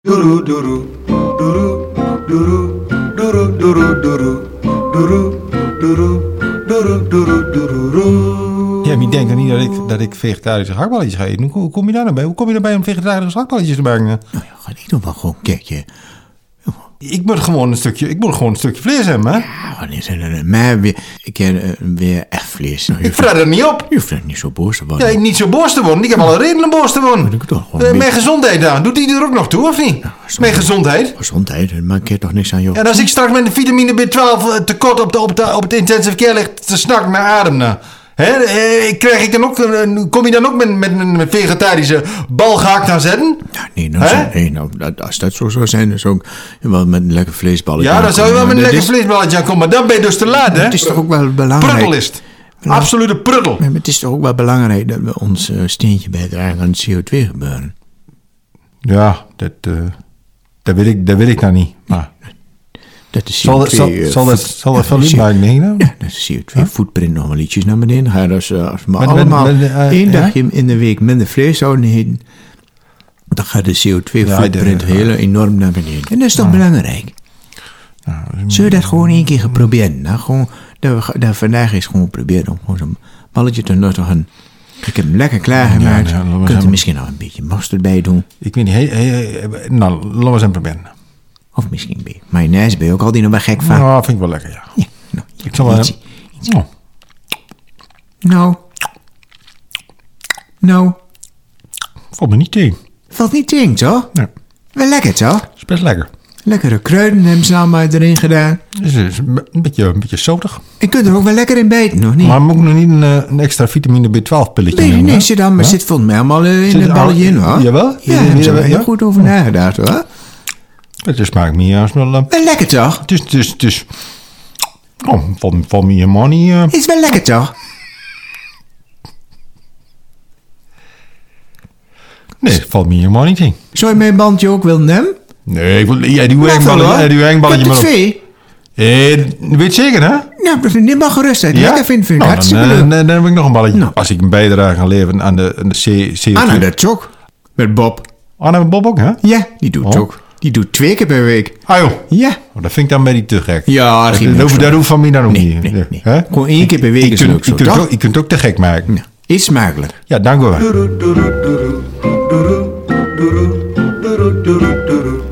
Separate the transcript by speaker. Speaker 1: Doeroe, doeroe, doeroe, doeroe, doeroe, doeroe, doeroe, doeroe, doeroe, doeroe, doeroe, doeroe.
Speaker 2: Ja, wie denkt er niet dat ik, dat ik vegetarische hakballetjes ga eten? Hoe, hoe kom je daar nou bij? Hoe kom je erbij om vegetarische hakballetjes te maken?
Speaker 3: Nou ja, ga ik doe wel gewoon een keertje.
Speaker 2: Ik moet gewoon een stukje, ik moet gewoon een stukje vlees hebben, hè?
Speaker 3: Ah, wat is er? Maar weer, ik heb eh, weer echt vlees. Nou, je,
Speaker 2: Ik
Speaker 3: hoeft,
Speaker 2: vraag er niet op.
Speaker 3: je hoeft er niet zo boos te worden.
Speaker 2: Ja, ik niet zo boos te worden. Ik heb al een reden om boos te worden.
Speaker 3: ik toch gewoon
Speaker 2: Eh,
Speaker 3: een
Speaker 2: Mijn
Speaker 3: beetje-
Speaker 2: gezondheid dan. Doet die er ook nog toe, of niet? Mijn gezondheid.
Speaker 3: Gezondheid, daar maak je toch niks aan, joh.
Speaker 2: En als ik straks met een vitamine B12 tekort op, de, op, de, op het intensive care lig te snakken naar adem na. Hè? eh, krijg ik dan ook, een- kom je dan ook met, met een vegetarische balgehakt aan zetten?
Speaker 3: Nou, nee, nou,
Speaker 2: Hè?
Speaker 3: zo- nee nou, dat, als dat zo zou zijn, dan zou ik wel met een lekker vleesballetje
Speaker 2: Ja, dan zou je wel met een
Speaker 3: aankomen.
Speaker 2: lekker
Speaker 3: Maar dat
Speaker 2: vleesballetje aankomen. Maar dan ben je dus te laat, hè?
Speaker 3: is- Het is toch ook wel belangrijk.
Speaker 2: Pruttel is het. Absolute pruttel.
Speaker 3: Maar het is toch ook wel belangrijk dat we ons eh, steentje bijdragen aan het CO2 gebeuren.
Speaker 2: Ja, dat, eh, dat, wil ik, dat wil ik nou niet. Maar
Speaker 3: Dat is CO2.
Speaker 2: zal, zal,
Speaker 3: eh,
Speaker 2: zal dat, zal dat van u maken, denk je nou?
Speaker 3: Ja, dat is CO2 footprint nog wel ietsjes naar beneden. Ga je dus, eh, als we maar
Speaker 2: Met- met-
Speaker 3: allemaal
Speaker 2: met, eh,
Speaker 3: één
Speaker 2: ja?
Speaker 3: dagje in de week minder vlees zouden eten, dan gaat de CO2 footprint
Speaker 2: de-
Speaker 3: heel enorm naar beneden. En dat is toch belangrijk? mm. Zullen we dat gewoon één keer gaan proberen? Nou, gewoon, dat we ga- dat vandaag eens gewoon proberen om gewoon zo'n balletje te nuttigen. Ik heb hem lekker klaargemaakt.
Speaker 2: Ja, ja, laten we
Speaker 3: Je kunt
Speaker 2: zijn-
Speaker 3: er misschien nog een beetje mosterd bij doen.
Speaker 2: Ik weet niet. Hey, hey, hey, nou, laten we eens even proberen.
Speaker 3: Of misschien een beetje mayonaise. Ben je ook al die nog wel gek van?
Speaker 2: Nou, vind ik wel lekker, ja.
Speaker 3: Ja, nou,
Speaker 2: Ik zal wel...
Speaker 3: Iets-
Speaker 2: Oh,
Speaker 3: nou. Nou.
Speaker 2: valt me niet tegen.
Speaker 3: Valt niet tegen, toch?
Speaker 2: Nee,
Speaker 3: Wel lekker, toch?
Speaker 2: is best lekker.
Speaker 3: Lekkere kruiden hebben ze allemaal erin gedaan.
Speaker 2: Is, is een beetje, een beetje zoetig.
Speaker 3: En kunt er ook wel lekker in bijten, of niet?
Speaker 2: Maar moet ik nog niet een, eh, een extra vitamine B12 pilletje
Speaker 3: nee, nee,
Speaker 2: nemen?
Speaker 3: nee,
Speaker 2: hè?
Speaker 3: zit, dan, maar
Speaker 2: Ja?
Speaker 3: zit volgens mij allemaal eh, in
Speaker 2: Zit
Speaker 3: het
Speaker 2: er al-
Speaker 3: balletje in, hoor.
Speaker 2: Jawel?
Speaker 3: Ja,
Speaker 2: Ja,
Speaker 3: daar hebben ze
Speaker 2: ja,
Speaker 3: wel
Speaker 2: ja.
Speaker 3: heel goed over nagedacht, hoor.
Speaker 2: Het is- smaakt meer als wel... eh,
Speaker 3: Wel lekker, toch?
Speaker 2: het is... Het is, het is oh, van, van mijn money... eh,
Speaker 3: Is wel lekker, toch?
Speaker 2: nee, valt me helemaal niet in.
Speaker 3: Zou je mijn bandje ook willen nemen?
Speaker 2: Nee, ik wil, jij die
Speaker 3: Mag wel, hoor.
Speaker 2: hengballetje, die hengballetje
Speaker 3: Ik heb
Speaker 2: maar
Speaker 3: er
Speaker 2: op.
Speaker 3: twee.
Speaker 2: Eh, weet je zeker, hè?
Speaker 3: Nou, dat neem maar gerust uit. Lekker vind, vind ik
Speaker 2: Nou,
Speaker 3: hartstikke
Speaker 2: dan, eh,
Speaker 3: leuk.
Speaker 2: dan, dan heb ik nog een balletje.
Speaker 3: Nou.
Speaker 2: Als ik een bijdrage ga leveren aan de, aan de C, Oh, CO2...
Speaker 3: Anna, dat ook. Met Bob.
Speaker 2: Anna en Bob ook, hè?
Speaker 3: Ja, die doet het
Speaker 2: Oh.
Speaker 3: ook. Die doet twee keer per week.
Speaker 2: Ah, joh.
Speaker 3: Ja.
Speaker 2: Oh, dat vind ik dan bij die te gek.
Speaker 3: Ja,
Speaker 2: dat,
Speaker 3: dat ging
Speaker 2: dat,
Speaker 3: ook
Speaker 2: hoeft-
Speaker 3: zo.
Speaker 2: dat hoeft van mij dan ook
Speaker 3: Nee,
Speaker 2: niet.
Speaker 3: nee, nee.
Speaker 2: Hè?
Speaker 3: Gewoon één keer per week
Speaker 2: Je
Speaker 3: is het ook
Speaker 2: kunt,
Speaker 3: zo,
Speaker 2: je, kunt het
Speaker 3: toch?
Speaker 2: ook, je kunt het ook te gek maken.
Speaker 3: Nou, Is smakelijk.
Speaker 2: Ja, dank u wel.
Speaker 1: Doeroe, doeroe, doeroe, doeroe, doeroe, doeroe, doeroe, doeroe.